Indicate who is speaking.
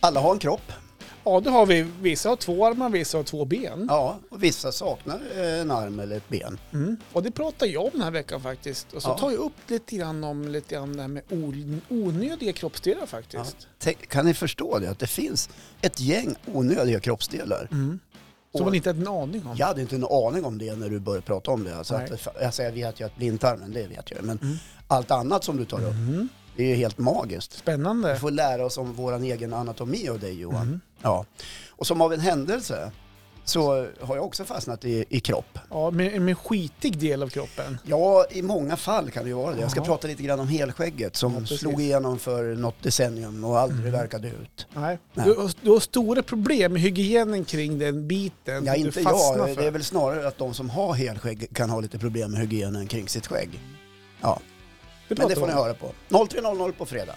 Speaker 1: Alla har en kropp.
Speaker 2: Ja, det har vi. Vissa har två armar, vissa har två ben.
Speaker 1: Ja, och vissa saknar eh, en arm eller ett ben.
Speaker 2: Och det pratar jag om den här veckan faktiskt. Och så
Speaker 1: Ja.
Speaker 2: tar jag upp lite grann om lite grann det här med on- onödiga kroppsdelar faktiskt.
Speaker 1: Tänk, kan ni förstå det? Att det finns ett gäng onödiga kroppsdelar.
Speaker 2: Som man inte hade en aning om.
Speaker 1: Jag hade inte en aning om det när du började prata om det. Alltså
Speaker 2: Nej.
Speaker 1: att, alltså jag vet ju att blindtarmen, det vet jag. Men allt annat som du tar upp, det är ju helt magiskt. Vi
Speaker 2: Mhm. Spännande.
Speaker 1: får lära oss om vår egen anatomi av dig Johan. Ja. Och som av en händelse så har jag också fastnat i, i kropp.
Speaker 2: Ja, med, med en skitig del av kroppen.
Speaker 1: Ja, i många fall kan det ju vara det. Jag ska
Speaker 2: Ja.
Speaker 1: prata lite grann om helskägget som
Speaker 2: Ja, precis. Mm.
Speaker 1: slog igenom för något decennium och aldrig verkade ut.
Speaker 2: Nej.
Speaker 1: Nej.
Speaker 2: Du, har- du har stora problem med hygienen kring den biten.
Speaker 1: Ja,
Speaker 2: som
Speaker 1: inte
Speaker 2: du fastnar
Speaker 1: jag.
Speaker 2: För.
Speaker 1: Det är väl snarare att de som har helskägg kan ha lite problem med hygienen kring sitt skägg. Ja, men
Speaker 2: Det
Speaker 1: det
Speaker 2: pratar
Speaker 1: får
Speaker 2: vi
Speaker 1: ni
Speaker 2: om.
Speaker 1: höra på. 03.00 på fredag.